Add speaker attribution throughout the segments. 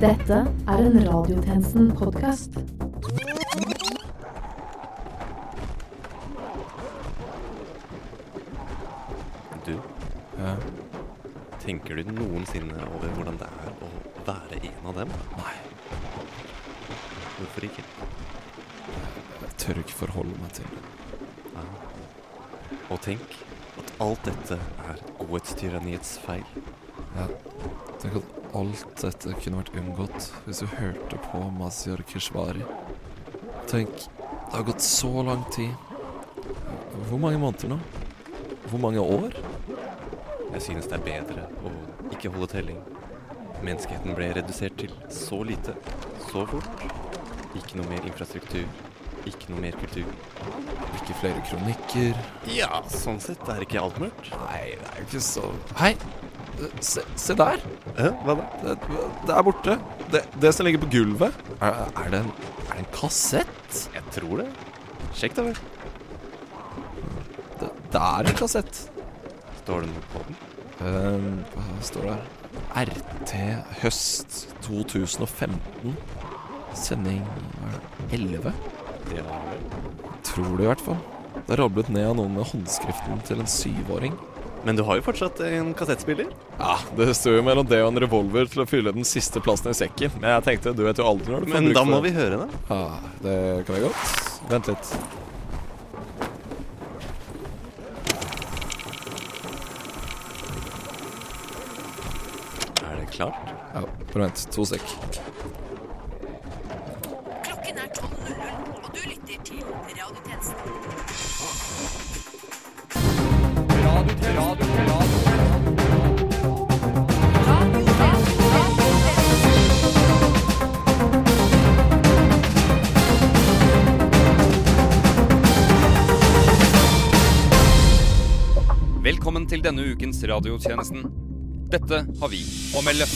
Speaker 1: Dette er en Radiotjenesten-podkast.
Speaker 2: Du, tenker du noensinne over hvordan det er å være en av dem?
Speaker 3: Nei,
Speaker 2: Hvorfor ikke?
Speaker 3: jeg tør ikke forholde meg til det.
Speaker 2: Ja. Og tenk at alt dette er godhetstyranniets feil.
Speaker 3: Ja. Tenk at alt dette kunne vært unngått hvis du hørte på Mazyar Keshvari. Tenk, det har gått så lang tid. Hvor mange måneder nå? Hvor mange år?
Speaker 2: Jeg synes det er bedre å ikke holde telling. Menneskeheten ble redusert til så lite, så fort. Ikke noe mer infrastruktur, ikke noe mer kultur.
Speaker 3: Ikke flere kronikker.
Speaker 2: Ja, sånn sett er ikke alt mørkt.
Speaker 3: Nei, det er jo ikke så Hei! Se, se der!
Speaker 2: hva da?
Speaker 3: Det, det er borte. Det, det som ligger på gulvet. Er, er, det en, er det en kassett?
Speaker 2: Jeg tror det. Sjekk da vel.
Speaker 3: Det, det er en kassett.
Speaker 2: Står det noe på den?
Speaker 3: Ehm, hva står det her? RT høst 2015. Sending hva er det, 11?
Speaker 2: Ja vel.
Speaker 3: Tror det i hvert fall. Det er rablet ned av noen med håndskriften til en syvåring.
Speaker 2: Men du har jo fortsatt en kassettspiller.
Speaker 3: Ja, Det sto jo mellom det og en revolver til å fylle den siste plassen i sekken. Men jeg tenkte, du vet jo aldri når du får
Speaker 2: Men
Speaker 3: bruk
Speaker 2: da
Speaker 3: for
Speaker 2: må
Speaker 3: den.
Speaker 2: vi høre det.
Speaker 3: Ja, det kan være godt. Vent litt.
Speaker 2: Er det klart?
Speaker 3: Ja, bare vent. To sek.
Speaker 4: Klokken er 12.00, og du lytter til Radiotjenesten.
Speaker 5: Velkommen til denne ukens radiotjenesten. Dette har vi å melde.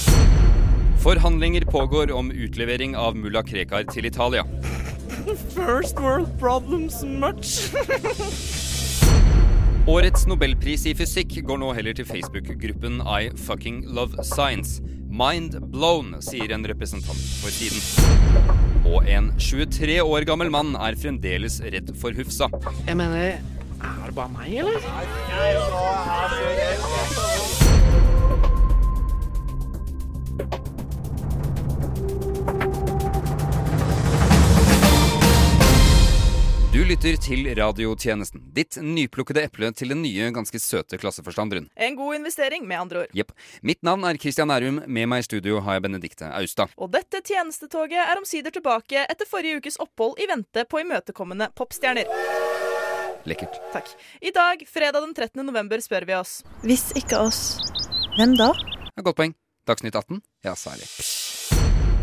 Speaker 5: Forhandlinger pågår om utlevering av mulla Krekar til Italia.
Speaker 6: First world problems much.
Speaker 5: Årets nobelpris i fysikk går nå heller til Facebook-gruppen I fucking love science. Mind blown, sier en representant for siden. Og en 23 år gammel mann er fremdeles redd for Hufsa.
Speaker 6: Jeg mener, er det bare meg, eller?
Speaker 5: Du lytter til radiotjenesten. Ditt nyplukkede eple til den nye, ganske søte klasseforstanderen.
Speaker 7: En god investering, med andre ord.
Speaker 5: Jepp. Mitt navn er Christian Nærum. Med meg i studio har jeg Benedikte Austad.
Speaker 7: Og dette tjenestetoget er omsider tilbake etter forrige ukes opphold i vente på imøtekommende popstjerner.
Speaker 5: Lekkert.
Speaker 7: Takk. I dag, fredag den 13. november, spør vi oss.
Speaker 8: Hvis ikke oss, hvem da?
Speaker 5: Ja, Godt poeng. Dagsnytt 18? Ja, særlig.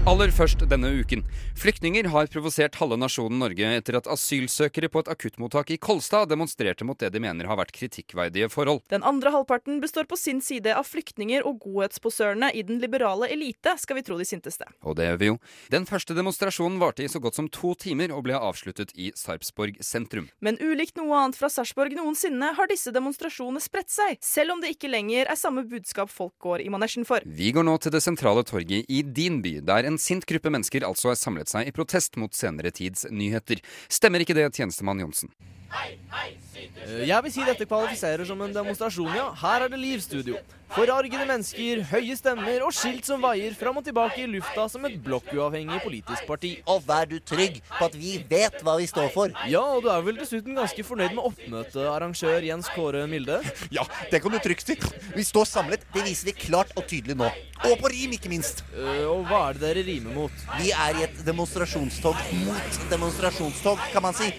Speaker 5: Aller først denne uken. Flyktninger har provosert halve nasjonen Norge etter at asylsøkere på et akuttmottak i Kolstad demonstrerte mot det de mener har vært kritikkverdige forhold.
Speaker 7: Den andre halvparten består på sin side av flyktninger og godhetsposørene i den liberale elite, skal vi tro de sinteste.
Speaker 5: Og det gjør vi jo. Den første demonstrasjonen varte i så godt som to timer og ble avsluttet i Sarpsborg sentrum.
Speaker 7: Men ulikt noe annet fra Sarpsborg noensinne har disse demonstrasjonene spredt seg, selv om det ikke lenger er samme budskap folk går i manesjen for.
Speaker 5: Vi går nå til det sentrale torget i din by, der en sint gruppe mennesker altså har samlet seg i protest mot senere tids nyheter. Stemmer ikke det, tjenestemann Johnsen?
Speaker 6: Eh, Jeg vil si dette kvalifiserer som en demonstrasjon, ja. Her er det livstudio. Forargede mennesker, høye stemmer og skilt som vaier fram og tilbake i lufta som et blokkuavhengig politisk parti.
Speaker 9: Og vær du trygg på at vi vet hva vi står for.
Speaker 6: Ja, og du er vel dessuten ganske fornøyd med oppmøtearrangør Jens Kåre Milde?
Speaker 9: Ja, det kan du trygt si. Vi står samlet. Det viser vi klart og tydelig nå. Og på rim, ikke minst.
Speaker 6: Eh, Og hva er det dere rimer mot?
Speaker 9: Vi er i et demonstrasjonstog mot demonstrasjonstog, kan man si.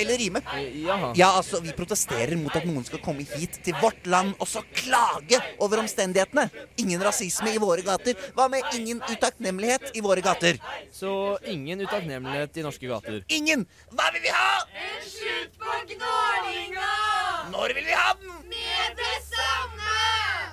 Speaker 9: Eller rime.
Speaker 6: Eh, Jaha.
Speaker 9: Ja, altså, Vi protesterer mot at noen skal komme hit til vårt land og så klage over omstendighetene. Ingen rasisme i våre gater. Hva med ingen utakknemlighet i våre gater?
Speaker 6: Så ingen utakknemlighet i norske gater.
Speaker 9: Ingen! Hva vil vi ha? En slutt på gnålinga! Når vil vi ha den? Med det samme!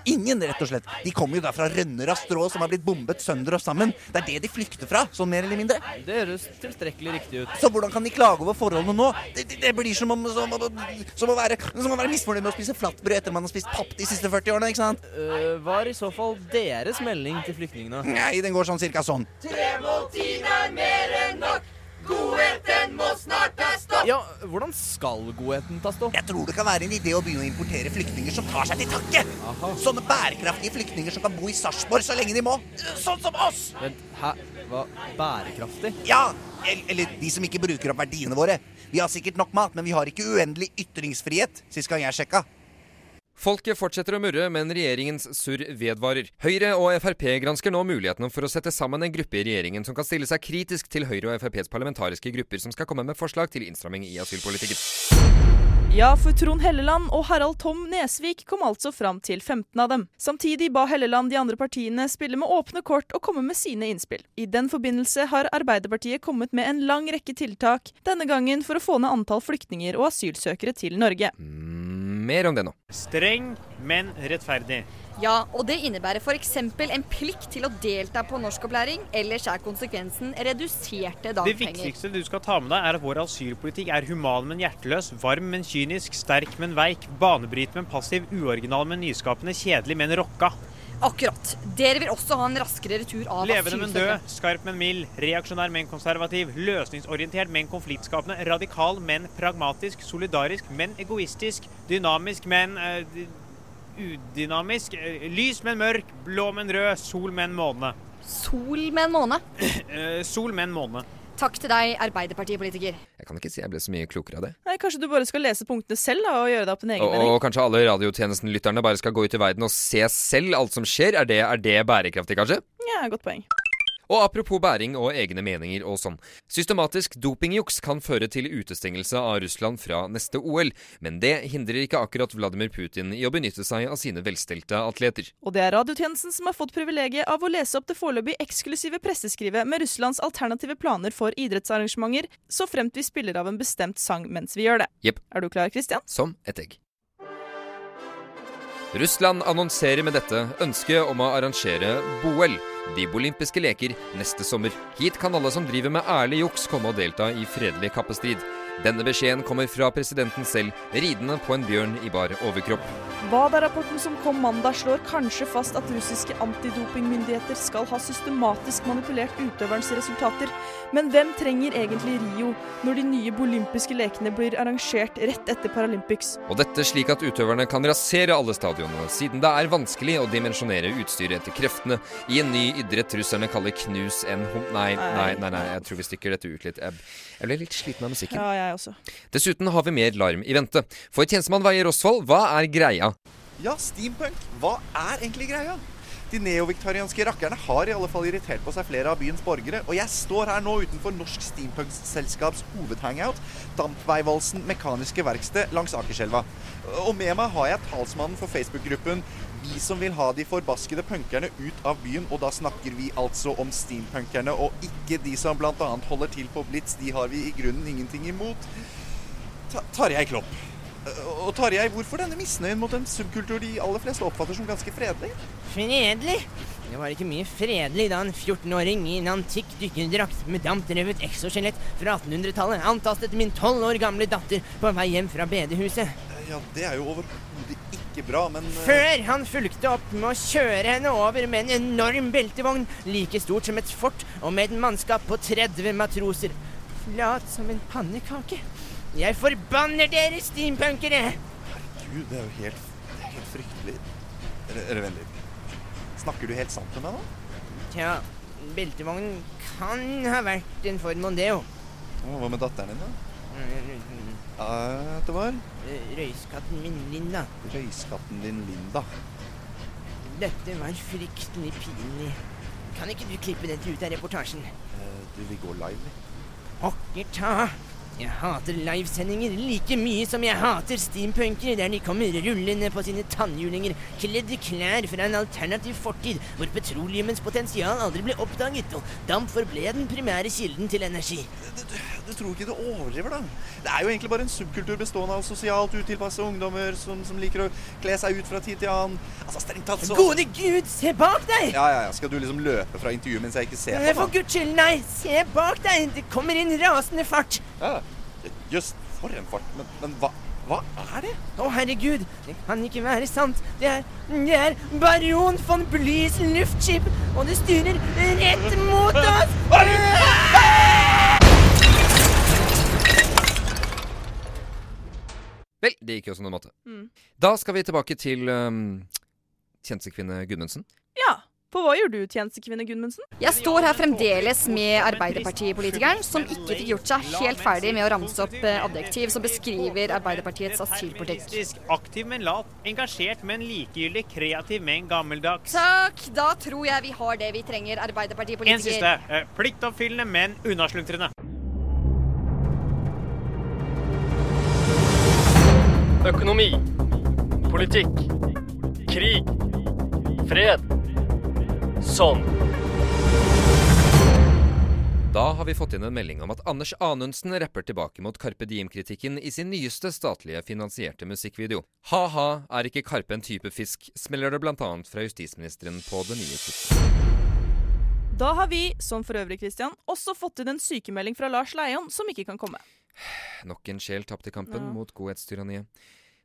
Speaker 9: Ingen, rett og slett. De kommer jo da fra rønner av strå som har blitt bombet sønder og sammen. Det er det de flykter fra, sånn mer eller mindre.
Speaker 6: Det høres tilstrekkelig riktig ut.
Speaker 9: Så hvordan kan de klage over forholdene nå? Det, det, det blir som, om, som, om- som, å være, som å være misfornøyd med å spise flatbrød etter man har spist papp de siste 40 årene, ikke sant?
Speaker 6: Eh, hva er i så fall deres melding til flyktningene?
Speaker 9: Nei, den går sånn cirka sånn.
Speaker 6: Ja, hvordan skal godheten tas opp?
Speaker 9: Jeg tror det kan være en idé å begynne å importere flyktninger som tar seg til takke. Sånne bærekraftige flyktninger som kan bo i Sarpsborg så lenge de må. Sånn som oss!
Speaker 6: Vent, hæ? Hva? Bærekraftig?
Speaker 9: Ja, el- eller de som ikke bruker opp verdiene våre. Vi har sikkert nok mat, men vi har ikke uendelig ytringsfrihet, sist gang jeg sjekka.
Speaker 5: Folket fortsetter å murre, men regjeringens surr vedvarer. Høyre og Frp gransker nå mulighetene for å sette sammen en gruppe i regjeringen som kan stille seg kritisk til Høyre og Frps parlamentariske grupper som skal komme med forslag til innstramming i asylpolitikken.
Speaker 7: Ja, for Trond Helleland og Harald Tom Nesvik kom altså fram til 15 av dem. Samtidig ba Helleland de andre partiene spille med åpne kort og komme med sine innspill. I den forbindelse har Arbeiderpartiet kommet med en lang rekke tiltak, denne gangen for å få ned antall flyktninger og asylsøkere til Norge.
Speaker 5: Mer om det nå.
Speaker 10: Streng, men rettferdig.
Speaker 4: Ja, og det innebærer f.eks. en plikt til å delta på norskopplæring, ellers er konsekvensen reduserte
Speaker 10: Det
Speaker 4: dagpenger.
Speaker 10: viktigste du skal ta med deg, er at vår asylpolitikk er human, men hjerteløs, varm, men kynisk, sterk, men veik, banebryt, men passiv, uoriginal, men nyskapende, kjedelig, men rocka.
Speaker 4: Akkurat. Dere vil også ha en raskere retur av
Speaker 10: Levende, men
Speaker 4: asylsøkere.
Speaker 10: død, skarp, men mild, reaksjonær, men konservativ, løsningsorientert, men konfliktskapende, radikal, men pragmatisk, solidarisk, men egoistisk, dynamisk, men eh, d- udynamisk, eh, lys, men mørk, blå, men rød, sol, men måne.
Speaker 4: Sol med en måned.
Speaker 10: Eh, sol, men måne.
Speaker 4: Takk til deg, Arbeiderpartipolitiker.
Speaker 5: Jeg kan ikke si jeg ble så mye klokere av det.
Speaker 7: Nei, Kanskje du bare skal lese punktene selv da, og gjøre deg opp en egen
Speaker 5: Og,
Speaker 7: mening?
Speaker 5: og kanskje alle radiotjenesten-lytterne bare skal gå ut i verden og se selv alt som skjer? Er det, er det bærekraftig, kanskje?
Speaker 7: Ja, godt poeng.
Speaker 5: Og apropos bæring og egne meninger og sånn. Systematisk dopingjuks kan føre til utestengelse av Russland fra neste OL, men det hindrer ikke akkurat Vladimir Putin i å benytte seg av sine velstelte atleter.
Speaker 7: Og det er radiotjenesten som har fått privilegiet av å lese opp det foreløpig eksklusive presseskrivet med Russlands alternative planer for idrettsarrangementer, så fremt vi spiller av en bestemt sang mens vi gjør det.
Speaker 5: Jepp.
Speaker 7: Er du klar, Christian?
Speaker 5: Som et egg. Russland annonserer med dette ønsket om å arrangere BOL, de olympiske leker, neste sommer. Hit kan alle som driver med ærlig juks komme og delta i fredelig kappestrid. Denne beskjeden kommer fra presidenten selv, ridende på en bjørn i bar overkropp.
Speaker 7: WADA-rapporten som kom mandag, slår kanskje fast at russiske antidopingmyndigheter skal ha systematisk manipulert utøverens resultater. Men hvem trenger egentlig Rio når de nye olympiske lekene blir arrangert rett etter Paralympics?
Speaker 5: Og dette slik at utøverne kan rasere alle stadionene, siden det er vanskelig å dimensjonere utstyret etter kreftene i en ny idrett russerne kaller knus en hom... Nei, nei, nei, nei, jeg tror vi stikker dette ut litt. Jeg jeg ble litt sliten av musikken.
Speaker 7: Ja, jeg også.
Speaker 5: Dessuten har vi mer larm i vente. For tjenestemann Veie Rosvold, hva er greia?
Speaker 11: Ja, steampunk. Hva er egentlig greia? De neoviktarianske rakkerne har i alle fall irritert på seg flere av byens borgere, og jeg står her nå utenfor Norsk Steampunkselskaps hovedhangout, Dampveivalsen mekaniske verksted langs Akerselva. Og med meg har jeg talsmannen for Facebook-gruppen Vi som vil ha de forbaskede punkerne ut av byen, og da snakker vi altså om steampunkerne, og ikke de som bl.a. holder til på Blitz, de har vi i grunnen ingenting imot. Ta Tarjei Klopp. Eh, Og Tarjei, hvorfor denne misnøyen mot en subkultur de aller fleste oppfatter som ganske fredelig?
Speaker 10: Fredelig? Det var ikke mye fredelig da en 14-åring i en antikk dykkerdrakt med dampdrevet exoskjelett fra 1800-tallet antastet min 12 år gamle datter på vei hjem fra bedehuset.
Speaker 11: Eh, Ja, det er jo overhodet ikke bra, men eh,
Speaker 10: Før han fulgte opp med å kjøre henne over med en enorm beltevogn, like stort som et fort, og med et mannskap på 30 matroser. Flat som en pannekake. Jeg forbanner dere, steampunkere!
Speaker 11: Gud, det er jo helt, det er helt fryktelig. Eller, eller vent litt. Snakker du helt sant med meg nå?
Speaker 10: Tja, beltevognen kan ha vært en Ford Mondeo.
Speaker 11: Å, Hva med datteren din, da? Ja, det var
Speaker 10: Eh, Røyskatten min, Linda.
Speaker 11: røyskatten din Linda.
Speaker 10: Dette var fryktelig pinlig. Kan ikke du klippe dette ut av reportasjen?
Speaker 11: Eh, Du, vi går live. vi.
Speaker 10: Pokker ta!
Speaker 12: Jeg hater livesendinger like mye som jeg hater steampunkere der de kommer rullende på sine tannhjulinger, kledd i klær fra en alternativ fortid hvor petroleumens potensial aldri ble oppdaget, og damp forble den primære kilden til energi.
Speaker 11: Du tror ikke du overdriver, da? Det er jo egentlig bare en subkultur bestående av sosialt utilpasse ungdommer som, som liker å kle seg ut fra tid til annen. Altså, strengt tatt så
Speaker 12: Gode gud, se bak deg!
Speaker 11: Ja, ja, ja. Skal du liksom løpe fra intervjuet mens jeg ikke ser
Speaker 12: Nei,
Speaker 11: på
Speaker 12: for
Speaker 11: deg?
Speaker 12: guds skyld, nei! Se bak deg! Det kommer inn rasende fart.
Speaker 11: Ja, Jøss, for en fart. Men, men hva, hva er det?
Speaker 12: Å, herregud! Det kan ikke være sant. Det er Det er baron von Blys luftskip, og det styrer rett mot oss!
Speaker 5: Vel, det gikk jo som det måtte.
Speaker 7: Mm.
Speaker 5: Da skal vi tilbake til um, tjenestekvinne Gudmundsen.
Speaker 7: Ja. For hva gjør du, tjenestekvinne Gudmundsen?
Speaker 4: Jeg står her fremdeles med Arbeiderpartipolitikeren som ikke fikk gjort seg helt ferdig med å ramse opp eh, adjektiv som beskriver Arbeiderpartiets asylpolitikk.
Speaker 10: Humanistisk, aktiv, men lat. Engasjert, men likegyldig. Kreativ, men gammeldags.
Speaker 4: Takk! Da tror jeg vi har det vi trenger,
Speaker 10: En siste.
Speaker 4: Arbeiderpartipolitiker.
Speaker 10: Eh, Pliktoppfyllende, men unnasluntrende.
Speaker 13: Økonomi. Politikk. Krig. Fred. Sånn.
Speaker 5: Da har vi fått inn en melding om at Anders Anundsen rapper tilbake mot Carpe Diem-kritikken i sin nyeste statlige finansierte musikkvideo. Ha-ha, er ikke Carpe en type fisk, smeller det blant annet fra justisministeren på det nye kuttet.
Speaker 7: Da har vi, som for øvrig Christian, også fått inn en sykemelding fra Lars Leion som ikke kan komme.
Speaker 5: Nok en sjel tapt i kampen
Speaker 7: Ja.
Speaker 5: mot godhetstyranniet.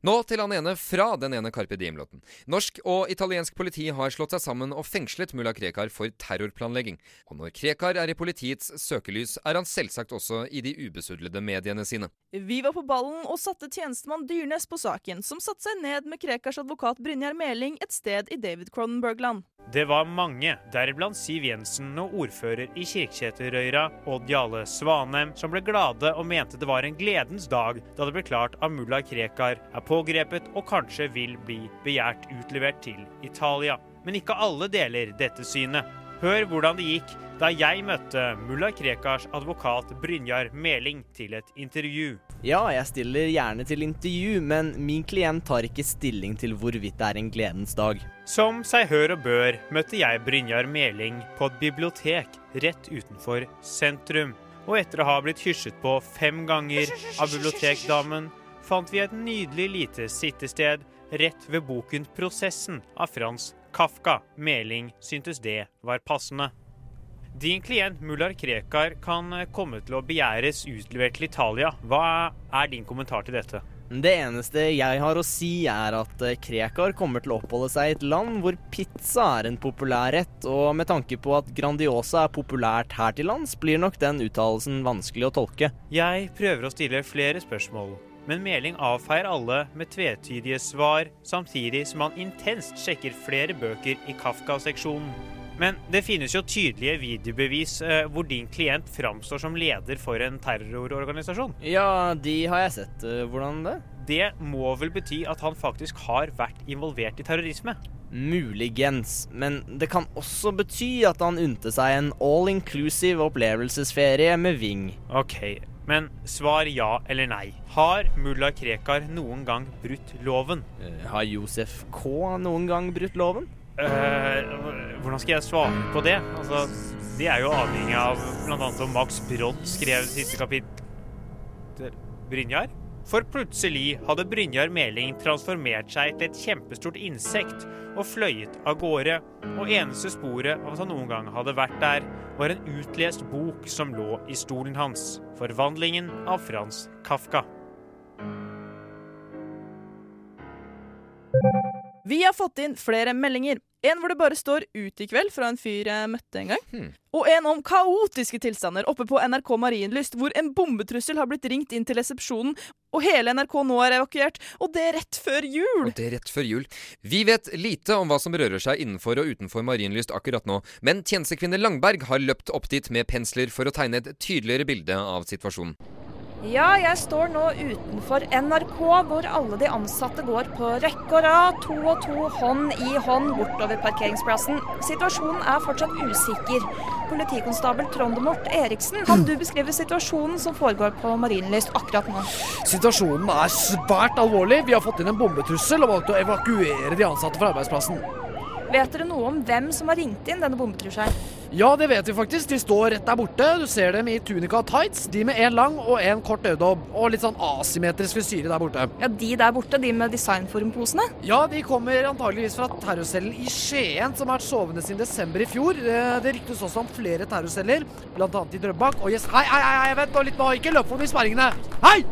Speaker 5: Nå til han ene fra den ene Carpe Diem-låten. Norsk og italiensk politi har slått seg sammen og fengslet mulla Krekar for terrorplanlegging. Og når Krekar er i politiets søkelys, er han selvsagt også i de ubesudlede mediene sine.
Speaker 7: Vi var på ballen og satte tjenestemann Dyrnes på saken, som satte seg ned med Krekars advokat Brynjar Meling et sted i David Cronenberg-land.
Speaker 10: Det var mange, deriblant Siv Jensen og ordfører i Kirkseterøyra, Odd Jale Svanem, som ble glade og mente det var en gledens dag da det ble klart at mulla Krekar er pågrepet og kanskje vil bli begjært utlevert til Italia. Men ikke alle deler dette synet. Hør hvordan det gikk da jeg møtte mulla Krekars advokat Brynjar Meling til et intervju.
Speaker 6: Ja, jeg stiller gjerne til intervju, men min klient tar ikke stilling til hvorvidt det er en gledens dag.
Speaker 10: Som seg hør og bør møtte jeg Brynjar Meling på et bibliotek rett utenfor sentrum. Og etter å ha blitt hysjet på fem ganger av bibliotekdamen, fant vi et nydelig lite sittested rett ved boken 'Prosessen' av Frans Kafka. Meling syntes det var passende. Din klient Mullar Krekar kan komme til å begjæres utlevert til Italia. Hva er din kommentar til dette?
Speaker 6: Det eneste jeg har å si, er at eh, Krekar kommer til å oppholde seg i et land hvor pizza er en populær rett, og med tanke på at Grandiosa er populært her til lands, blir nok den uttalelsen vanskelig å tolke.
Speaker 10: Jeg prøver å stille flere spørsmål, men Meling avfeier alle med tvetydige svar, samtidig som han intenst sjekker flere bøker i Kafka-seksjonen. Men det finnes jo tydelige videobevis eh, hvor din klient framstår som leder for en terrororganisasjon.
Speaker 6: Ja, de har jeg sett. Eh, Hvordan det?
Speaker 10: Det må vel bety at han faktisk har vært involvert i terrorisme?
Speaker 6: Muligens, men det kan også bety at han unte seg en all-inclusive opplevelsesferie med Ving.
Speaker 10: Ok, men svar ja eller nei. Har mulla Krekar noen gang brutt loven?
Speaker 6: Eh, Har Josef K. noen gang brutt loven?
Speaker 10: Eh, hvordan skal jeg svare på det? Altså, det er jo avhengig av bl.a. om Max Brodd skrev siste kapittel Brynjar? For plutselig hadde Brynjar Meling transformert seg til et kjempestort insekt og fløyet av gårde, og eneste sporet av at han noen gang hadde vært der, var en utlest bok som lå i stolen hans. Forvandlingen av Frans Kafka.
Speaker 7: Vi har fått inn flere meldinger. En hvor det bare står 'ut i kveld' fra en fyr jeg møtte en gang.
Speaker 8: Hmm.
Speaker 7: Og en om kaotiske tilstander oppe på NRK Marienlyst, hvor en bombetrussel har blitt ringt inn til resepsjonen, og hele NRK nå er evakuert, og det rett før jul!
Speaker 5: Og det er rett før jul. Vi vet lite om hva som rører seg innenfor og utenfor Marienlyst akkurat nå, men tjenestekvinne Langberg har løpt opp dit med pensler for å tegne et tydeligere bilde av situasjonen.
Speaker 14: Ja, jeg står nå utenfor NRK, hvor alle de ansatte går på rekke og rad, to og to, hånd i hånd bortover parkeringsplassen. Situasjonen er fortsatt usikker. politikonstabel Trondemort Eriksen, kan du beskrive situasjonen som foregår på Marienlyst akkurat nå?
Speaker 15: Situasjonen er svært alvorlig. Vi har fått inn en bombetrussel og valgt å evakuere de ansatte fra arbeidsplassen.
Speaker 14: Vet dere noe om hvem som har ringt inn denne bombetrusselen?
Speaker 15: Ja, det vet vi faktisk. De står rett der borte. Du ser dem i tunika og tights. De med én lang og én kort øyedobb. Og litt sånn asymmetrisk frisyre der borte.
Speaker 14: Ja, De der borte, de med designformposene?
Speaker 15: Ja, de kommer antageligvis fra terrorcellen i Skien, som har vært sovende siden desember i fjor. Eh, Det ryktes også om flere terrorceller, bl.a. i Drøbak og Gjes... Hei, hei, hei, hei, vent nå litt nå! Ikke løp forbi sperringene! Hei!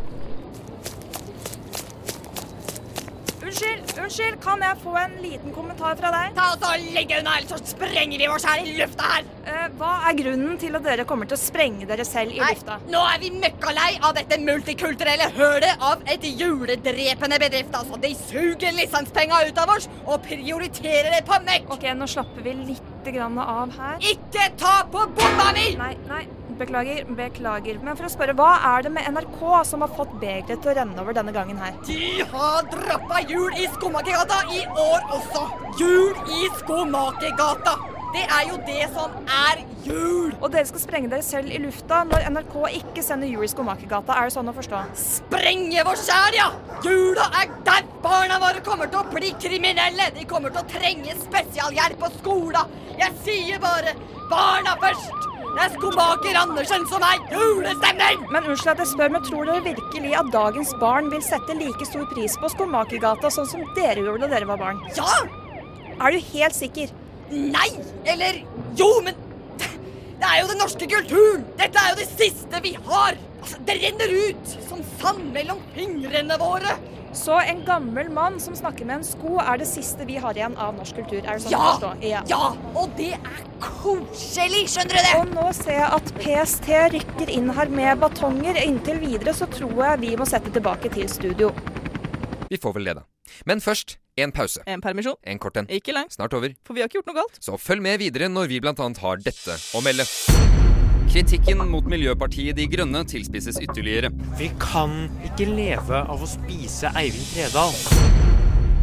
Speaker 14: Unnskyld, unnskyld, kan jeg få en liten kommentar fra deg?
Speaker 16: Ta oss og legge unna, ellers så sprenger vi oss her i lufta her!
Speaker 14: Eh, hva er grunnen til at dere kommer til å sprenge dere selv i lufta?
Speaker 16: Nå er vi møkkalei av dette multikulturelle hølet av et juledrepende bedrift, altså. De suger lisenspenga ut av oss og prioriterer det på nett.
Speaker 14: Ok, nå slapper vi litt grann av her.
Speaker 16: Ikke ta på bomba mi!
Speaker 14: Nei, nei, beklager, beklager. Men for å spørre, hva er det med NRK som har fått begeret til å renne over denne gangen her?
Speaker 16: De har droppa jul i Skomakergata i år også. Jul i Skomakergata! Det er jo det som er jul!
Speaker 14: Og dere skal sprenge dere selv i lufta når NRK ikke sender jul i Skomakergata, er det sånn å forstå?
Speaker 16: Sprenge vår sjæl, ja! Jula er der! Barna våre kommer til å bli kriminelle! De kommer til å trenge spesialhjelp på skolen! Jeg sier bare barna først! Det er skomaker Andersen som er julestemning!
Speaker 14: Men unnskyld at jeg spør, men tror dere virkelig at dagens barn vil sette like stor pris på Skomakergata sånn som dere gjorde da dere var barn?
Speaker 16: Ja!
Speaker 14: Er du helt sikker?
Speaker 16: Nei! Eller jo, men det er jo den norske kulturen! Dette er jo det siste vi har! Altså, Det renner ut som sand mellom fingrene våre!
Speaker 14: Så en gammel mann som snakker med en sko, er det siste vi har igjen av norsk kultur? Er det sånn
Speaker 16: Ja!
Speaker 14: å forstå?
Speaker 16: Ja! Og det er koselig, skjønner du det?
Speaker 14: Og nå ser jeg at PST rykker inn her med batonger. Inntil videre så tror jeg vi må sette tilbake til studio.
Speaker 17: Vi får vel det, da. Men først en pause. En permisjon. En kort en. Ikke lang. Snart over.
Speaker 7: For vi har ikke gjort noe galt.
Speaker 17: Så følg med videre når vi blant annet har dette å melde.
Speaker 5: Kritikken mot Miljøpartiet De Grønne tilspisses ytterligere.
Speaker 10: Vi kan ikke leve av å spise Eivind Tredal.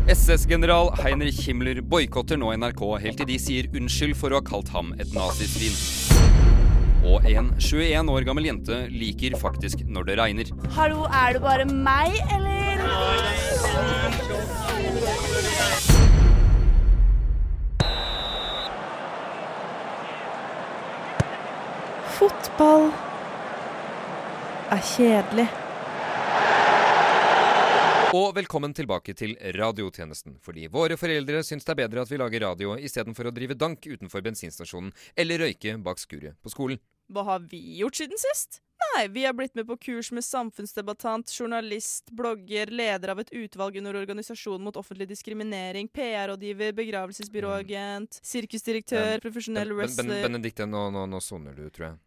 Speaker 5: SS-general Heinrich Himmler boikotter nå NRK helt til de sier unnskyld for å ha kalt ham et nazisvin. Og en 21 år gammel jente liker faktisk når det regner.
Speaker 18: Hallo, er det bare meg, eller?
Speaker 8: Fotball er kjedelig.
Speaker 17: Og velkommen tilbake til radiotjenesten, fordi våre foreldre syns det er bedre at vi lager radio istedenfor å drive dank utenfor bensinstasjonen eller røyke bak skuret på skolen.
Speaker 7: Hva har vi gjort siden sist? Nei, vi har blitt med på kurs med samfunnsdebattant, journalist, blogger, leder av et utvalg under organisasjonen mot offentlig diskriminering, PR-rådgiver, begravelsesbyråagent, sirkusdirektør, profesjonell
Speaker 17: Ben- Ben-
Speaker 7: wrestler
Speaker 17: Benedikte, nå, nå, nå soner du, tror jeg.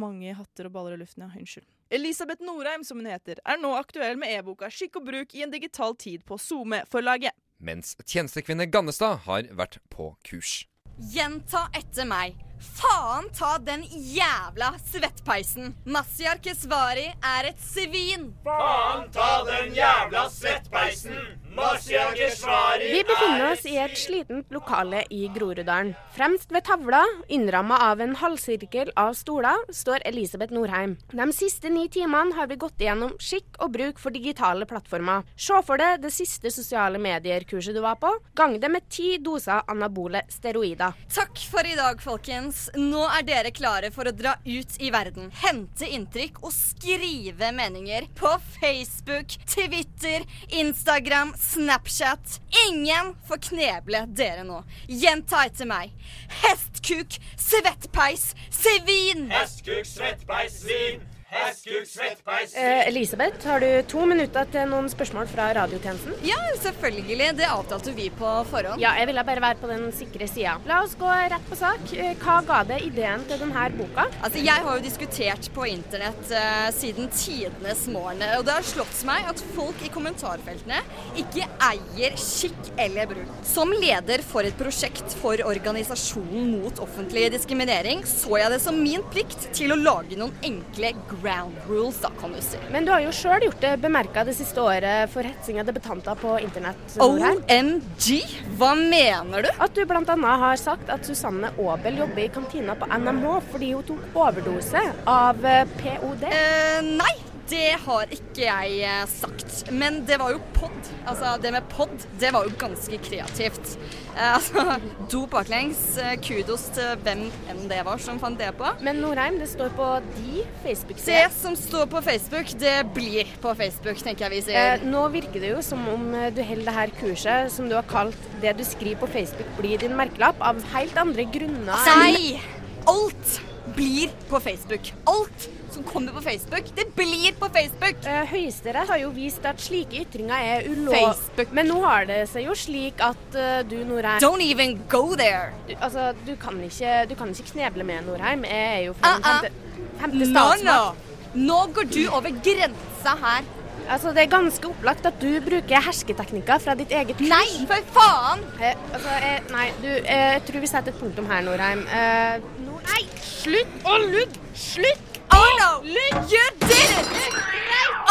Speaker 7: Mange hatter og baller i luften, ja. Unnskyld. Elisabeth Norheim, som hun heter, er nå aktuell med e-boka Skikk og bruk i en digital tid på SoMe-forlaget.
Speaker 17: Mens tjenestekvinne Gannestad har vært på kurs.
Speaker 16: Gjenta etter meg. Faen ta den jævla svettpeisen. Masiar Keshvari er et svin.
Speaker 19: Faen ta den jævla svettpeisen! Masya Keshvari
Speaker 20: Vi befinner oss i et slitent lokale i Groruddalen. Fremst ved tavla, innramma av en halvsirkel av stoler, står Elisabeth Norheim. De siste ni timene har vi gått igjennom skikk og bruk for digitale plattformer. Se for deg det siste sosiale medier-kurset du var på. Gang det med ti doser anabole steroider.
Speaker 16: Takk for i dag, folkens. Nå er dere klare for å dra ut i verden, hente inntrykk og skrive meninger på Facebook, Twitter, Instagram, Snapchat. Ingen får kneble dere nå. Gjenta etter meg. Hestkuk, svettpeis, svin!
Speaker 19: Hestkuk, svettpeis, svin! Hestkuk, svettpeis,
Speaker 20: Eh, Elisabeth, har du to minutter til noen spørsmål fra radiotjenesten?
Speaker 16: Ja, selvfølgelig. Det avtalte vi på forhånd.
Speaker 20: Ja, jeg ville bare være på den sikre sida. La oss gå rett på sak. Eh, Hva ga det ideen til denne boka?
Speaker 16: Altså, Jeg har jo diskutert på internett eh, siden tidenes morgen, og det har slått meg at folk i kommentarfeltene ikke eier skikk eller bruk. Som leder for et prosjekt for organisasjonen mot offentlig diskriminering, så jeg det som min plikt til å lage noen enkle, ground rules, da, Kanusi.
Speaker 20: Men du har jo sjøl gjort det bemerka det siste året for hetsing av debutanter på internett. Norheim.
Speaker 16: OMG! Hva mener du?
Speaker 20: At du bl.a. har sagt at Susanne Aabel jobber i kantina på NMH fordi hun tok overdose av eh, POD.
Speaker 16: Eh, nei, det har ikke jeg eh, sagt. Men det var jo pod. Altså, det med pod, det var jo ganske kreativt. Eh, altså, do baklengs. eh, Kudos til hvem enn det var som fant det på.
Speaker 20: Men Norheim, det står på de Facebook-side.
Speaker 16: Det som står på Facebook, det blir på Facebook, tenker jeg vi
Speaker 20: Eh,
Speaker 16: sier.
Speaker 20: nå virker det jo som om eh, du holder det her kurset som du har kalt 'Det du skriver på Facebook blir din merkelapp', av helt andre grunner.
Speaker 16: Nei! Alt blir på Facebook. Alt som kommer på Facebook, det blir på Facebook.
Speaker 20: Eh, Høyesterett har jo vist at slike ytringer er ulovlige.
Speaker 16: Facebook.
Speaker 20: Men nå har det seg jo slik at eh, du, Norheim
Speaker 16: Don't even go there.
Speaker 20: Du, altså, du kan, ikke, du kan ikke kneble med Norheim. Jeg er jo fra
Speaker 16: Ah,
Speaker 20: den
Speaker 16: ah.
Speaker 20: femte, femte
Speaker 16: No, no.
Speaker 20: statsmakt.
Speaker 16: Nå går du over grensa her.
Speaker 20: Altså, Det er ganske opplagt at du bruker hersketeknikker fra ditt eget kurs.
Speaker 16: Nei, for faen!
Speaker 20: Eh, altså, eh, nei, du, eh, jeg tror vi setter et punktum her, Norheim. Eh, Nor nei, slutt å lugge! Slutt å lugge!
Speaker 16: You did it!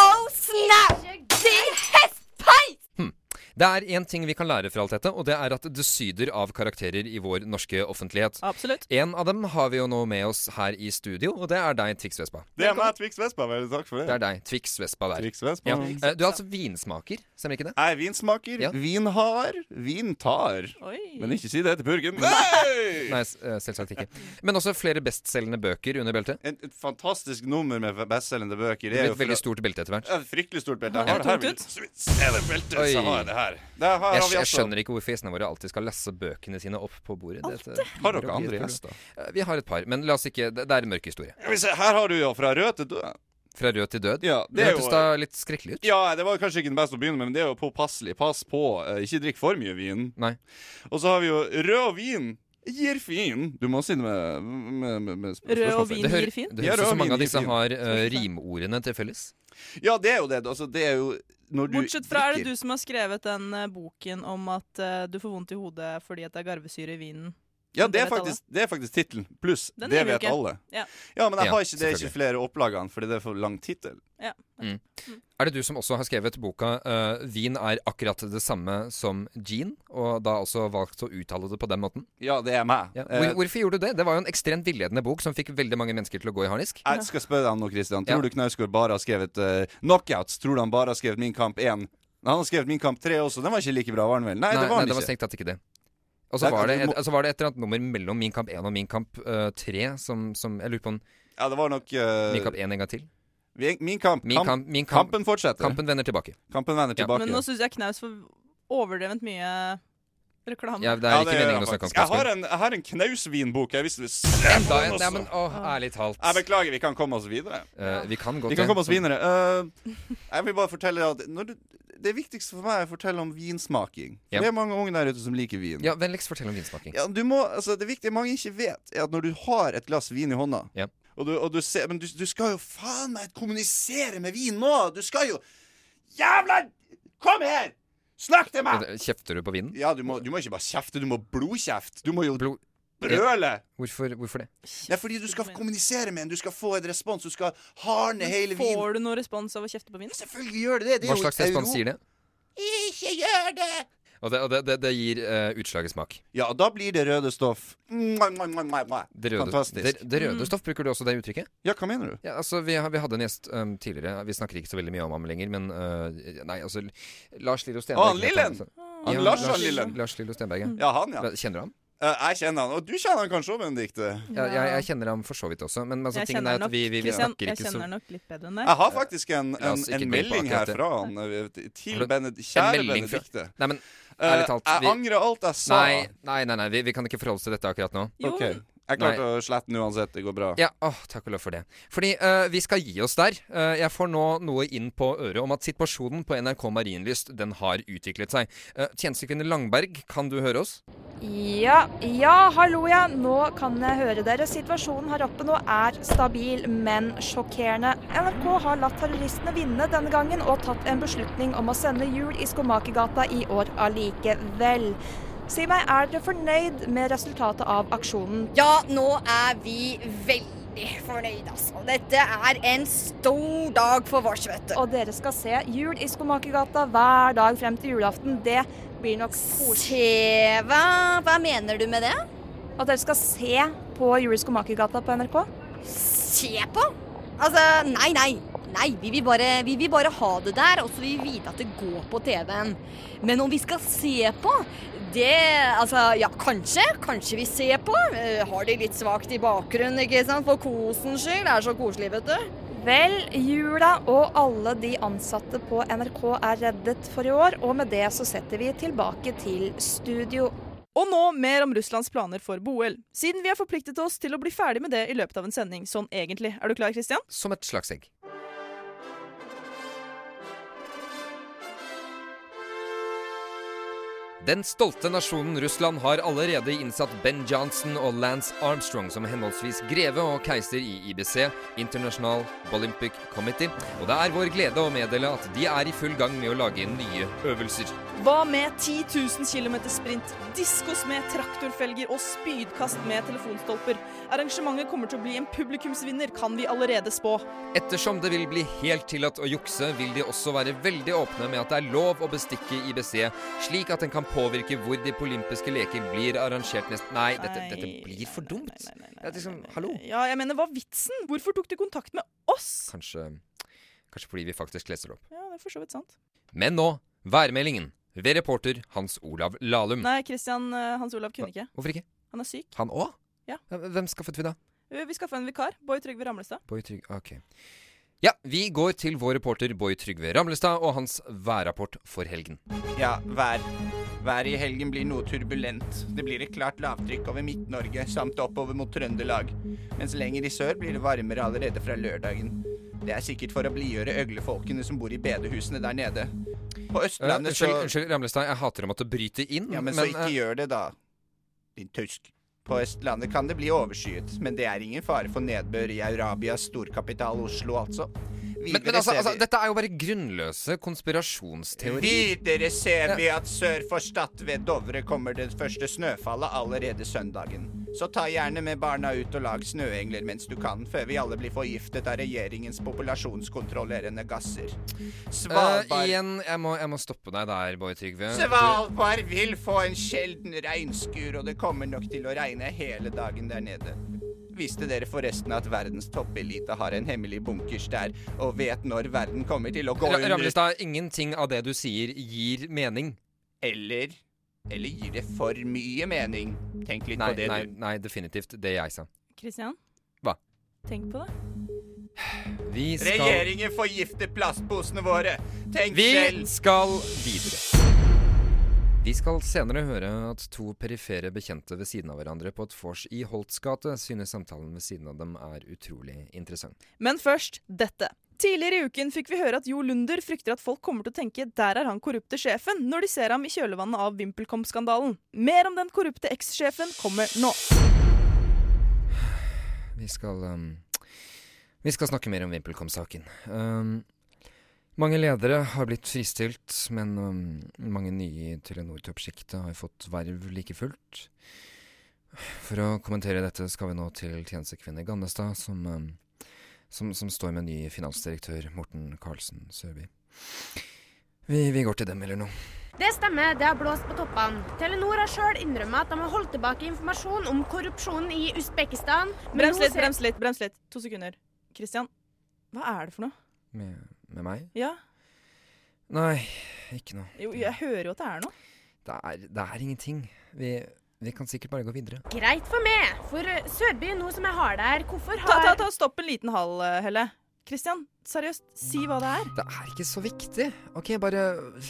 Speaker 16: Oh, snap! Din hestpeis!
Speaker 5: Det er én ting vi kan lære fra alt dette, og det er at det syder av karakterer i vår norske offentlighet.
Speaker 7: Absolutt.
Speaker 5: En av dem har vi jo nå med oss her i studio, og det er deg, Twix Vespa.
Speaker 17: Det er meg, Twix Vespa. Veldig takk for det.
Speaker 5: Det er deg, Twix Vespa der.
Speaker 17: Twix Vespa.
Speaker 5: Ja. Eh, Du er altså vinsmaker, stemmer ikke det?
Speaker 17: Jeg er vinsmaker.
Speaker 5: Ja.
Speaker 17: Vin har, vin tar.
Speaker 7: Oi.
Speaker 17: Men ikke si det til purken.
Speaker 5: Nei, s- eh, selvsagt ikke. Men også flere bestselgende bøker under beltet.
Speaker 17: En, et fantastisk nummer med bestselgende bøker.
Speaker 5: Det blir et veldig stort belte etter hvert.
Speaker 17: Ja, fryktelig stort belte.
Speaker 5: Ja,
Speaker 17: Jeg har det her.
Speaker 5: tungt
Speaker 17: vel- Se det beltet,
Speaker 5: Oi.
Speaker 17: så har jeg det her. Der har,
Speaker 5: jeg,
Speaker 17: har vi
Speaker 5: jeg
Speaker 17: altså.
Speaker 5: skjønner ikke hvorfor gjestene våre alltid skal lasse bøkene sine opp på bordet. Dette blir
Speaker 17: Har dere
Speaker 5: å bli
Speaker 17: andre
Speaker 5: et problem.
Speaker 17: gjester?
Speaker 5: Eh, Vi har et par, men la oss ikke Det, det er en mørk historie.
Speaker 17: Skal vi se, Her har du jo Fra rød til død.
Speaker 5: Fra rød til død?
Speaker 17: Ja,
Speaker 5: det hørtes da litt skrekkelig ut.
Speaker 17: Ja, det var kanskje ikke den beste å begynne med, men det er jo påpasselig. Pass på, eh, ikke drikk for mye vin.
Speaker 5: Nei.
Speaker 17: Og så har vi jo rød vin. Gir fin. Du må si det med, med, med, med sp-
Speaker 7: Rød og
Speaker 17: spørsmålstegn.
Speaker 7: vin
Speaker 5: Det, hører,
Speaker 7: gir fin.
Speaker 5: det
Speaker 17: Ja,
Speaker 5: høres ut
Speaker 17: rød
Speaker 5: som mange
Speaker 17: vin
Speaker 5: av
Speaker 17: gir
Speaker 5: disse
Speaker 17: fin.
Speaker 5: har eh, rimordene til felles.
Speaker 17: Ja, det er jo det. Altså, det er jo når du
Speaker 7: Bortsett fra er det
Speaker 17: drikker.
Speaker 7: du som har skrevet den eh, boken om at eh, du får vondt i hodet fordi at det er garvesyre i vinen.
Speaker 17: Ja, det er
Speaker 7: vet alle.
Speaker 17: faktisk, det er faktisk tittelen. Pluss
Speaker 7: Den
Speaker 17: Det
Speaker 7: gir vi
Speaker 17: vet
Speaker 7: ikke.
Speaker 17: alle.
Speaker 7: Ja.
Speaker 17: Ja, men jeg
Speaker 5: Ja,
Speaker 17: har ikke, det er
Speaker 5: selvfølgelig.
Speaker 17: ikke flere opplagene, fordi det er for lang tittel.
Speaker 7: Ja.
Speaker 5: Mm. Er det du som også har skrevet boka eh, 'Vin er akkurat det samme som gin', og da også valgt å uttale det på den måten?
Speaker 17: Ja, det er meg.
Speaker 5: Hvor,
Speaker 17: Eh,
Speaker 5: hvorfor gjorde du det? Det var jo en ekstremt villedende bok som fikk veldig mange mennesker til å gå i harnisk.
Speaker 17: Jeg skal spørre deg om noe, Christian.
Speaker 5: Ja.
Speaker 17: Tror du Knausgård bare har skrevet eh, knockouts? Tror du han bare har skrevet Min kamp 1? Nei, Han har skrevet Min kamp 3 også. Den var ikke like bra, var den vel? Nei, det var den
Speaker 5: det var
Speaker 17: ikke.
Speaker 5: strengt tatt ikke det. Og så
Speaker 17: Nei,
Speaker 5: var, det
Speaker 17: du
Speaker 5: et-
Speaker 17: må-
Speaker 5: altså var det et eller annet nummer mellom Min kamp 1 og Min kamp eh, 3 som, som Jeg lurer på om
Speaker 17: Ja, det var nok eh,
Speaker 5: Min kamp 1 en gang til.
Speaker 17: vi- Min kamp.
Speaker 5: Min
Speaker 17: kamp,
Speaker 5: kamp- min kamp-
Speaker 17: kampen fortsetter.
Speaker 5: Kampen vender tilbake.
Speaker 17: Kampen vender
Speaker 5: Ja.
Speaker 17: tilbake.
Speaker 7: Men nå syns jeg Knaus får overdrevent mye reklame.
Speaker 5: Ja, det er
Speaker 17: Ja,
Speaker 5: ikke
Speaker 17: gjør
Speaker 5: meningen
Speaker 17: jeg
Speaker 5: å snakke om
Speaker 17: faktisk. Jeg har
Speaker 5: Knausgård.
Speaker 17: en, jeg har en knausvinbok. Jeg visste
Speaker 5: Enda
Speaker 17: det
Speaker 5: en? Ja, men
Speaker 17: Jeg
Speaker 5: å, ærlig talt.
Speaker 17: beklager, vi kan komme oss videre.
Speaker 5: Eh, vi kan godt
Speaker 17: Vi kan komme oss videre. Eh, jeg vil bare fortelle at når du, Det viktigste for meg er å fortelle om vinsmaking.
Speaker 5: Ja.
Speaker 17: Det er mange unge der ute som liker vin.
Speaker 5: Ja, Vennligst fortell om vinsmaking.
Speaker 17: Ja, du må, altså, det viktige mange ikke vet, er at når du har et glass vin i hånda
Speaker 5: Ja.
Speaker 17: og du, og du ser, Men du, du skal jo faen meg kommunisere med vin nå! Du skal jo Jævla Kom her! Snakk til meg!
Speaker 5: Kjefter du på vinden?
Speaker 17: Ja, du må, du må ikke bare kjefte, du må blodkjefte. Du må jo brøle.
Speaker 5: Ja. Hvorfor, hvorfor det?
Speaker 17: Nei, fordi du skal kommunisere med en, du skal få en respons, du skal harne hele
Speaker 7: Men
Speaker 17: vinen.
Speaker 7: Får du noe respons av å kjefte på vinen?
Speaker 17: Selvfølgelig gjør det det.
Speaker 5: Hva slags respons sier det?
Speaker 17: Ikke gjør det!
Speaker 5: Og det, og det, det, det gir eh, utslag i smak.
Speaker 17: Ja, da blir det røde stoff. Mwah, mwah, mwah, mwah, mwah.
Speaker 5: Det røde,
Speaker 17: Fantastisk.
Speaker 5: Det, det røde
Speaker 17: Mm.
Speaker 5: stoff, bruker du også det uttrykket?
Speaker 17: Ja, hva mener du?
Speaker 5: Ja, altså, vi, har, vi hadde en gjest um, tidligere, vi snakker ikke så veldig mye om ham lenger, men øh, Nei, altså Lars Lillo Stenberg.
Speaker 17: Å, han Ah, Lillen!
Speaker 5: heter
Speaker 17: Han
Speaker 5: Ja,
Speaker 17: Lars, han Lillen.
Speaker 5: Lars Lillo Stenberg, ja.
Speaker 17: Ja, han, ja.
Speaker 5: Hva- Kjenner du ham?
Speaker 17: Eh, jeg kjenner han, og du kjenner han kanskje òg, Benedicte.
Speaker 5: Ja, jeg, jeg kjenner ham for så vidt også, men altså,
Speaker 7: Jeg
Speaker 5: tingen
Speaker 7: kjenner
Speaker 5: er at
Speaker 7: nok-
Speaker 5: vi, vi, vi
Speaker 7: Christian,
Speaker 5: snakker
Speaker 7: jeg
Speaker 5: ikke så
Speaker 7: kjenner nok litt bedre enn deg.
Speaker 17: Jeg har faktisk en,
Speaker 5: La
Speaker 17: en,
Speaker 5: oss ikke
Speaker 17: en
Speaker 5: gå inn på
Speaker 17: melding
Speaker 5: akkurat
Speaker 17: her
Speaker 5: det.
Speaker 17: fra han eh, til
Speaker 5: Har du-
Speaker 17: Bened
Speaker 5: En
Speaker 17: kjære
Speaker 5: melding fra-
Speaker 17: Benedicte.
Speaker 5: Nei, men
Speaker 17: Eh,
Speaker 5: ærlig talt
Speaker 17: jeg
Speaker 5: vi-
Speaker 17: angrer alt jeg sa.
Speaker 5: Nei, nei, nei, nei vi, vi kan ikke forholde oss til dette akkurat nå.
Speaker 17: OK. Jeg
Speaker 5: Nei.
Speaker 17: klarte å slette den uansett. Det går bra.
Speaker 5: Ja, åh, takk og lov for det. Fordi eh, vi skal gi oss der. Eh, jeg får nå noe inn på øret om at situasjonen på NRK Marienlyst den har utviklet seg. Eh, tjenestekvinne Langberg, kan du høre oss?
Speaker 14: Ja, ja, hallo ja. Nå kan jeg høre dere. Situasjonen her oppe nå er stabil, men sjokkerende. NRK har latt terroristene vinne denne gangen og tatt en beslutning om å sende jul i Skomakergata i år allikevel. Si meg, er dere fornøyd med resultatet av aksjonen?
Speaker 16: Ja, nå er vi veldig fornøyd, altså. Dette er en stor dag for vårs, vet du.
Speaker 14: Og dere skal se Jul i Skomakergata hver dag frem til julaften. Det blir nok
Speaker 16: Se hva, hva mener du med det?
Speaker 14: At dere skal se på Jul i Skomakergata på NRK.
Speaker 16: Se på? Altså, nei, nei. Nei, vi vil, bare, vi vil bare ha det der, og så vil vi vite at det går på TV-en. Men om vi skal se på, det Altså, ja, kanskje. Kanskje vi ser på. Eh, Har de litt svakt i bakgrunnen, ikke sant? For kosens skyld. Det er så koselig, vet du.
Speaker 14: Vel, jula og alle de ansatte på NRK er reddet for i år, og med det så setter vi tilbake til studio.
Speaker 7: Og nå mer om Russlands planer for Boel. Siden vi har forpliktet oss til å bli ferdig med det i løpet av en sending, sånn egentlig. Er du klar, Kristian?
Speaker 5: Som et slags egg. Den stolte nasjonen Russland har allerede innsatt Ben Johnson og Lance Armstrong som henholdsvis greve og keiser i IBC, International Olympic Committee, og det er vår glede å meddele at de er i full gang med å lage nye øvelser.
Speaker 7: Hva med 10 000 km sprint, diskos med traktorfelger og spydkast med telefonstolper? Arrangementet kommer til å bli en publikumsvinner, kan vi allerede spå.
Speaker 5: Ettersom det vil bli helt tillatt å jukse, vil de også være veldig åpne med at det er lov å bestikke IBC, slik at den kan påvirke hvor de olympiske leker blir arrangert nest... Nei, dette, dette blir for dumt. Det er liksom, hallo?
Speaker 7: Ja, jeg mener, hva er vitsen? Hvorfor tok de kontakt med oss?
Speaker 5: Kanskje, kanskje fordi vi faktisk leser det opp.
Speaker 7: Ja, det er for så vidt sant.
Speaker 5: Men nå, værmeldingen ved reporter Hans Olav Lahlum.
Speaker 7: Nei, Kristian Hans Olav kunne ikke.
Speaker 5: Hvorfor ikke?
Speaker 7: Han er syk.
Speaker 5: Han òg?
Speaker 7: Ja.
Speaker 5: Hvem skaffet vi da?
Speaker 7: Vi skaffa en vikar. Boy Trygve Ramlestad.
Speaker 5: Boy Trygg... Ok. Ja, vi går til vår reporter Boy Trygve Ramlestad og hans værrapport for helgen.
Speaker 21: Ja, vær. Været i helgen blir noe turbulent. Det blir et klart lavtrykk over Midt-Norge samt oppover mot Trøndelag. Mens lenger i sør blir det varmere allerede fra lørdagen. Det er sikkert for å blidgjøre øglefolkene som bor i bedehusene der nede. På
Speaker 5: Eh,
Speaker 21: Østlandet så
Speaker 5: unnskyld, unnskyld, Ramlestad. Jeg hater å måtte bryte inn.
Speaker 21: Ja, men, så ikke
Speaker 5: eh,
Speaker 21: gjør det, da. Din tysk. På Østlandet kan det bli overskyet, men det er ingen fare for nedbør i Arabias storkapital Oslo, altså.
Speaker 5: men, men altså, altså, dette er jo bare grunnløse konspirasjonsteorier.
Speaker 21: Videre ser vi
Speaker 5: Ja.
Speaker 21: at sør for Stad ved Dovre kommer det første snøfallet allerede søndagen. Så ta gjerne med barna ut og lag snøengler mens du kan, før vi alle blir forgiftet av regjeringens populasjonskontrollerende gasser.
Speaker 5: Eh,
Speaker 21: Svalbard
Speaker 5: igjen, jeg må, jeg må stoppe deg der, Boy Trygve.
Speaker 21: Svalbard vil få en sjelden regnskur, og det kommer nok til å regne hele dagen der nede. Visste dere forresten at verdens toppelite har en hemmelig bunkers der, og vet når verden kommer til å gå
Speaker 5: Ra-
Speaker 21: under?
Speaker 5: Ramlestad, ingenting av det du sier, gir mening.
Speaker 21: Eller Eller gir det for mye mening? Tenk litt
Speaker 5: nei,
Speaker 21: på det,
Speaker 5: nei,
Speaker 21: du.
Speaker 5: Nei, definitivt det jeg sa.
Speaker 7: Kristian?
Speaker 5: Hva?
Speaker 7: Tenk på det.
Speaker 5: Vi skal
Speaker 21: Regjeringen forgifter plastposene våre. Tenk
Speaker 5: Vi
Speaker 21: selv.
Speaker 5: skal videre. Vi skal senere høre at to perifere bekjente ved siden av hverandre på et vors i Holts gate synes samtalen ved siden av dem er utrolig interessant.
Speaker 7: Men først dette. Tidligere i uken fikk vi høre at Jo Lunder frykter at folk kommer til å tenke der er han korrupte sjefen, når de ser ham i kjølvannet av VimpelCom-skandalen. Mer om den korrupte eks-sjefen kommer nå.
Speaker 5: Vi skal um, Vi skal snakke mer om VimpelCom-saken. Um, mange ledere har blitt fristilt, men um, mange nye i Telenor-toppsjiktet har fått verv like fullt. For å kommentere dette skal vi nå til tjenestekvinne Gannestad, som, um, som, som står med ny finansdirektør Morten Karlsen Sørby. Vi, vi går til dem, eller noe.
Speaker 20: Det stemmer, det har blåst på toppene. Telenor har sjøl innrømmet at de har holdt tilbake informasjon om korrupsjonen i Usbekistan. men
Speaker 7: Brems
Speaker 20: nå
Speaker 7: litt,
Speaker 20: ser-
Speaker 7: brems litt, brems litt. To sekunder. Kristian, hva er det for noe?
Speaker 5: Med, med meg?
Speaker 7: Ja,
Speaker 5: Nei, ikke noe.
Speaker 7: jo, jeg hører jo at det er noe.
Speaker 5: Det er, det er ingenting. Vi, vi kan sikkert bare gå videre.
Speaker 20: Greit for meg, for eh, Sørby, nå som jeg har deg her, hvorfor
Speaker 7: Ta,
Speaker 20: har
Speaker 7: ta, ta, stopp en liten hal, eh, Helle. Kristian, seriøst, si hva det er.
Speaker 5: Det er ikke så viktig. OK, bare,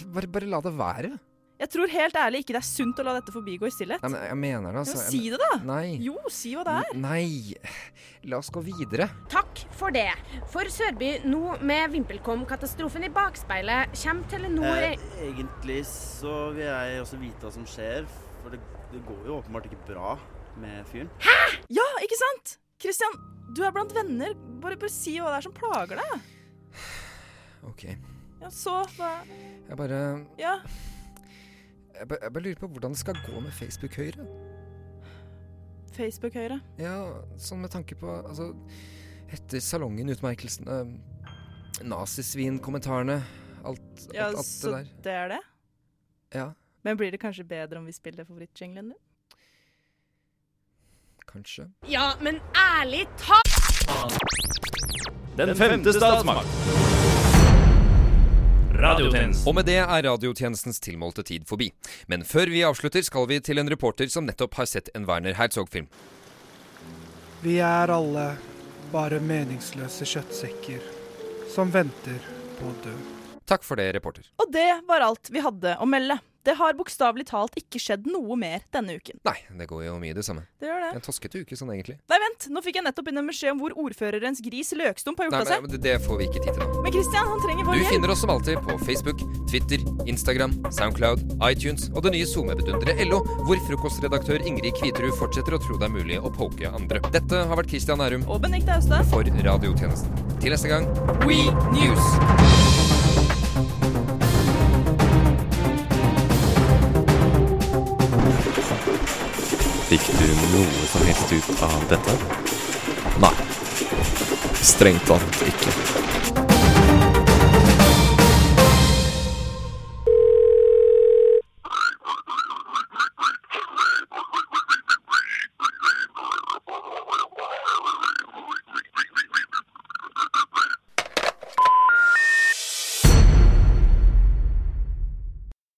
Speaker 5: bare, bare la det være.
Speaker 7: Jeg tror helt ærlig ikke det er sunt å la dette forbigå i stillhet.
Speaker 5: Nei, men jeg mener det, altså.
Speaker 7: Ja, men si det, da.
Speaker 5: Nei.
Speaker 7: Jo, si hva det er.
Speaker 5: Nei. La oss gå videre.
Speaker 20: Takk for det. For Sørby, nå med VimpelCom-katastrofen i bakspeilet, kommer Telenor
Speaker 22: Eh, egentlig så vil jeg også vite hva som skjer, for det, det går jo åpenbart ikke bra med fyren.
Speaker 7: Ja, ikke sant? Kristian, du er blant venner. Bare, bare si hva det er som plager deg.
Speaker 5: OK.
Speaker 7: Ja, så hva
Speaker 5: Jeg bare
Speaker 7: Ja.
Speaker 5: Jeg bare, jeg bare lurer på hvordan det skal gå med Facebook Høyre.
Speaker 7: Facebook Høyre.
Speaker 5: Ja, sånn med tanke på Altså, etter salongen-utmerkelsene, nazisvin-kommentarene, alt, alt,
Speaker 7: Ja,
Speaker 5: alt det
Speaker 7: så
Speaker 5: der.
Speaker 7: det er det.
Speaker 5: Ja,
Speaker 7: Men blir det kanskje bedre om vi spiller favorittjinglen din?
Speaker 5: kanskje.
Speaker 20: Ja, men ærlig talt!
Speaker 23: Den femte statsmakt.
Speaker 5: Og med det er radiotjenestens tilmålte tid forbi. Men før vi avslutter, skal vi til en reporter som nettopp har sett en Werner Herzog-film.
Speaker 1: Vi er alle bare meningsløse kjøttsekker som venter på å dø.
Speaker 5: Takk for det, reporter.
Speaker 7: Og det var alt vi hadde å melde. Det har bokstavelig talt ikke skjedd noe mer denne uken.
Speaker 5: Nei, det går jo mye i det samme.
Speaker 7: Det gjør det.
Speaker 5: En toskete uke sånn, egentlig.
Speaker 7: Nei, vent! Nå fikk jeg nettopp inn en beskjed om hvor ordførerens gris løkstump har gjort
Speaker 5: Nei,
Speaker 7: av
Speaker 5: men,
Speaker 7: seg.
Speaker 5: men det- det får vi ikke tid til nå.
Speaker 7: Men Christian, han trenger vår
Speaker 5: Du
Speaker 7: hjelp.
Speaker 5: finner oss som alltid på Facebook, Twitter, Instagram, Soundcloud, iTunes og det nye SoMe-bedunderet LO, hvor frokostredaktør Ingrid Kviterud fortsetter å tro det er mulig å poke andre. Dette har vært Christian Nærum
Speaker 7: og Benedicte Austad
Speaker 5: for Radiotjenesten. Til neste gang We News!
Speaker 2: Fikk du noe som helst ut av dette? Nei. Strengt tatt ikke.